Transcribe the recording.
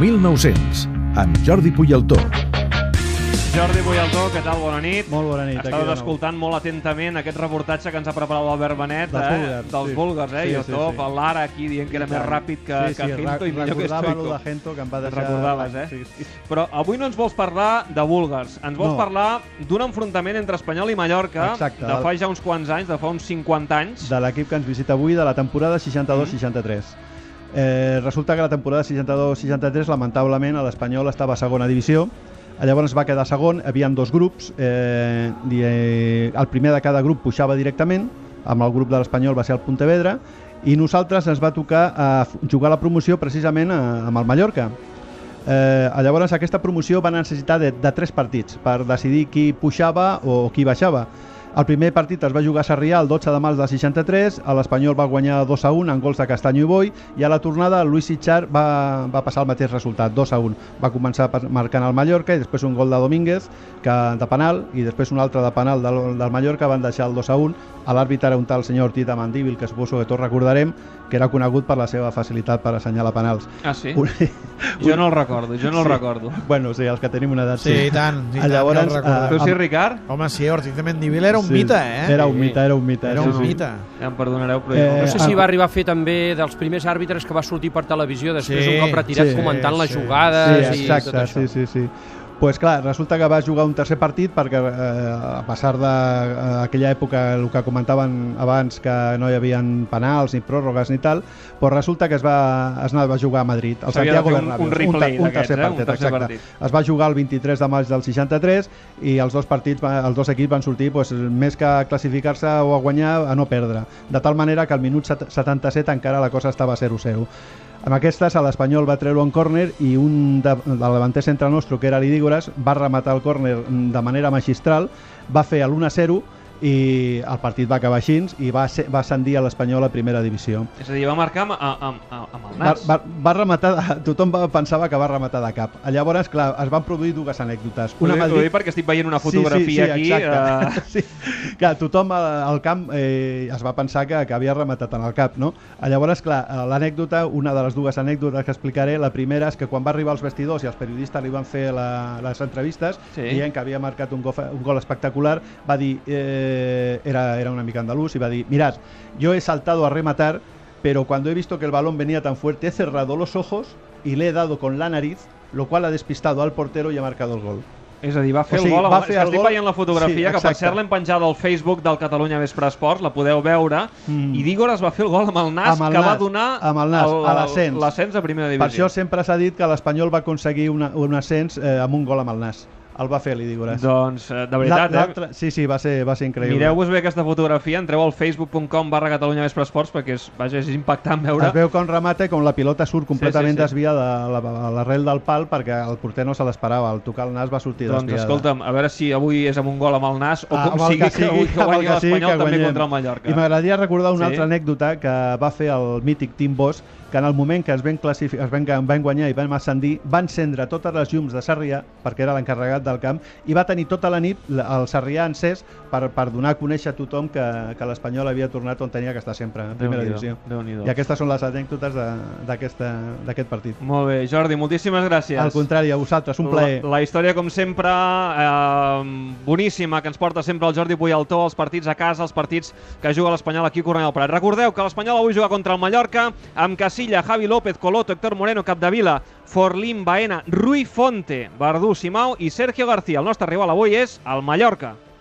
1900, amb Jordi Puyaltó. Jordi Boialdó, què tal? Bona nit. Molt bona nit, aquí de Estàs nou. escoltant molt atentament aquest reportatge que ens ha preparat l'Albert Benet, Dels eh? búlgars, dels sí. búlgars, eh? Sí, jo sí, top, sí. l'Ara aquí dient que era més ràpid que, sí, que sí, Gento i millor que recordava lo de Stoico. Gento, que em va deixar... Recordaves, eh? Sí, sí. Però avui no ens vols parlar de búlgars, ens vols No. parlar d'un enfrontament entre Espanyol i Mallorca Exacte, de del- fa ja uns quants anys, de fa uns 50 anys. De l'equip que ens visita avui, de la temporada 62-63. Eh, resulta que la temporada 62-63, lamentablement, a l'Espanyol estava a segona divisió, Eh, Llavors va quedar segon, hi havia dos grups, eh, i, eh, el primer de cada grup puixava directament, amb el grup de l'Espanyol va ser el Pontevedra, i nosaltres ens va tocar eh, f- jugar la promoció precisament eh, amb el Mallorca. Eh, llavors aquesta promoció va necessitar de, de tres partits per decidir qui puixava o qui baixava. El primer partit es va jugar a Sarrià el 12 de març del 63, a l'Espanyol va guanyar 2 a 1 en gols de Castanyo i Boi i a la tornada el Luis Sitchar va, va passar el mateix resultat, 2 a 1. Va començar per- marcant el Mallorca i després un gol de Domínguez que, de penal i després un altre de penal del, del Mallorca van deixar el 2 a 1. A l'àrbitre era un tal senyor Tita Mandíbil que suposo que tots recordarem que era conegut per la seva facilitat per assenyalar penals. Ah, sí? Un- Jo no el recordo, jo no el Sí. recordo. Bueno, sí, els que tenim una edat, Sí, i tant. I tant Llavors, que el recordo. eh, Tu sí, amb- Ricard? Home, sí, Ortiz de Mendivil era un mite, eh? Era un Sí. mite, era un mite. Era sí, un sí. mite. Ja em perdonareu, però... Eh, jo- No sé si Ah. va arribar a fer també dels primers àrbitres que va sortir per televisió després Sí, un cop retirat sí, comentant les sí. jugades sí, i tot exacte, això. sí, sí, sí. Pues clar, resulta que va jugar un tercer partit perquè eh, a passar d'aquella època el que comentaven abans que no hi havia penals ni pròrrogues ni tal, però resulta que es va, es anava a jugar a Madrid, al S'havia de Santiago fer un- Bernabéu. un replay ter- un d'aquests, tercer eh? Un partit, tercer exacte. partit. Es va jugar el 23 de maig del 63 i els dos partits, va- els dos equips van sortir pues, més que a classificar-se o a guanyar, a no perdre. De tal manera que al minut set- 77 encara la cosa estava 0-0. Amb aquestes, a l'Espanyol va treure un córner i un de, del davanter centre nostre, que era l'Idígores, va rematar el córner mm, de manera magistral, va fer el 1-0 i el partit va acabar així i va, ser, va ascendir a l'Espanyol a primera divisió. És a dir, va marcar amb, amb, amb, amb el Va, nas. va, va rematar, de- tothom va, pensava que va rematar de cap. Llavors, clar, es van produir dues anècdotes. Una ho, dic, ho Una a Madrid dic perquè estic veient una fotografia sí, sí, aquí. eh, Exacte. sí. Clar, tothom al, al camp eh, es va pensar que, que havia rematat en el cap, no? Llavors, clar, eh, l'anècdota, una de les dues anècdotes que explicaré, la primera és que quan va arribar als vestidors i els periodistes li van fer la, les entrevistes, Sí. sí. dient que havia marcat un, gof, un gol espectacular, va dir, eh, era, era una mica andalús, i va dir, mirad, yo he saltado a rematar, pero cuando he visto que el balón venía tan fuerte, he cerrado los ojos y le he dado con la nariz, lo cual ha despistado al portero y ha marcado el gol. És a dir, va fer O sigui, el gol. va Va fer fer el estic gol. veient la fotografia, Sí, que per exacte. cert l'hem penjada al Facebook del Catalunya Vespre Esports, la podeu veure, Mm. i Dígoras va fer el gol amb el nas, Amb el que va nas, donar amb el nas, el- a l'ascens. l'ascens a primera Per això divisió. sempre s'ha dit que l'Espanyol va aconseguir una, un ascens eh, amb un gol amb el nas. El va fer l'Idigoràs. Doncs, eh, de La- veritat, eh? l'altre- Sí, sí, va ser, va ser increïble. Mireu-vos bé aquesta fotografia, entreu al facebook.com barra Catalunya Vespre Esports perquè és, vaja, és impactant veure Es veu com remata i com la pilota surt completament sí, sí. sí, sí, sí. desviada a la- a l'arrel del pal perquè el porter no se l'esperava. Al tocar el nas va sortir Doncs desviada. escolta'm, a veure si avui és amb un gol amb el nas o Ah, com amb el sigui que, avui que amb el guanyi que sigui, l'Espanyol que també guanyem. contra el Mallorca. I m'agradaria recordar una Sí. altra anècdota que va fer el mític Tim Bosch, que en el moment que es van, classific- es van, que van guanyar i van ascendir, van encendre totes les llums de Sarrià, perquè era l'encarregat del camp, i va tenir tota la nit la- el Sarrià encès per, per donar a conèixer a tothom que, que l'Espanyol havia tornat on tenia que estar sempre, en primera Déu-n'hi-do, divisió. Déu-n'hi-do. I aquestes són les anècdotes de- d'aquesta- d'aquest partit. Molt bé, Jordi, moltíssimes gràcies. Al contrari, a vosaltres, un plaer. La, la història, com sempre, eh, boníssima, que ens porta sempre el Jordi Puyaltó, els partits a casa, els partits que juga l'Espanyol aquí a Cornellà del Prat. Recordeu que l'Espanyol avui juga contra el Mallorca, amb Casilla, Javi López, Coloto, Héctor Moreno, Capdevila, Forlín, Baena, Rui Fonte, Verdú, Simau i Sergio García. El nostre rival avui és el Mallorca.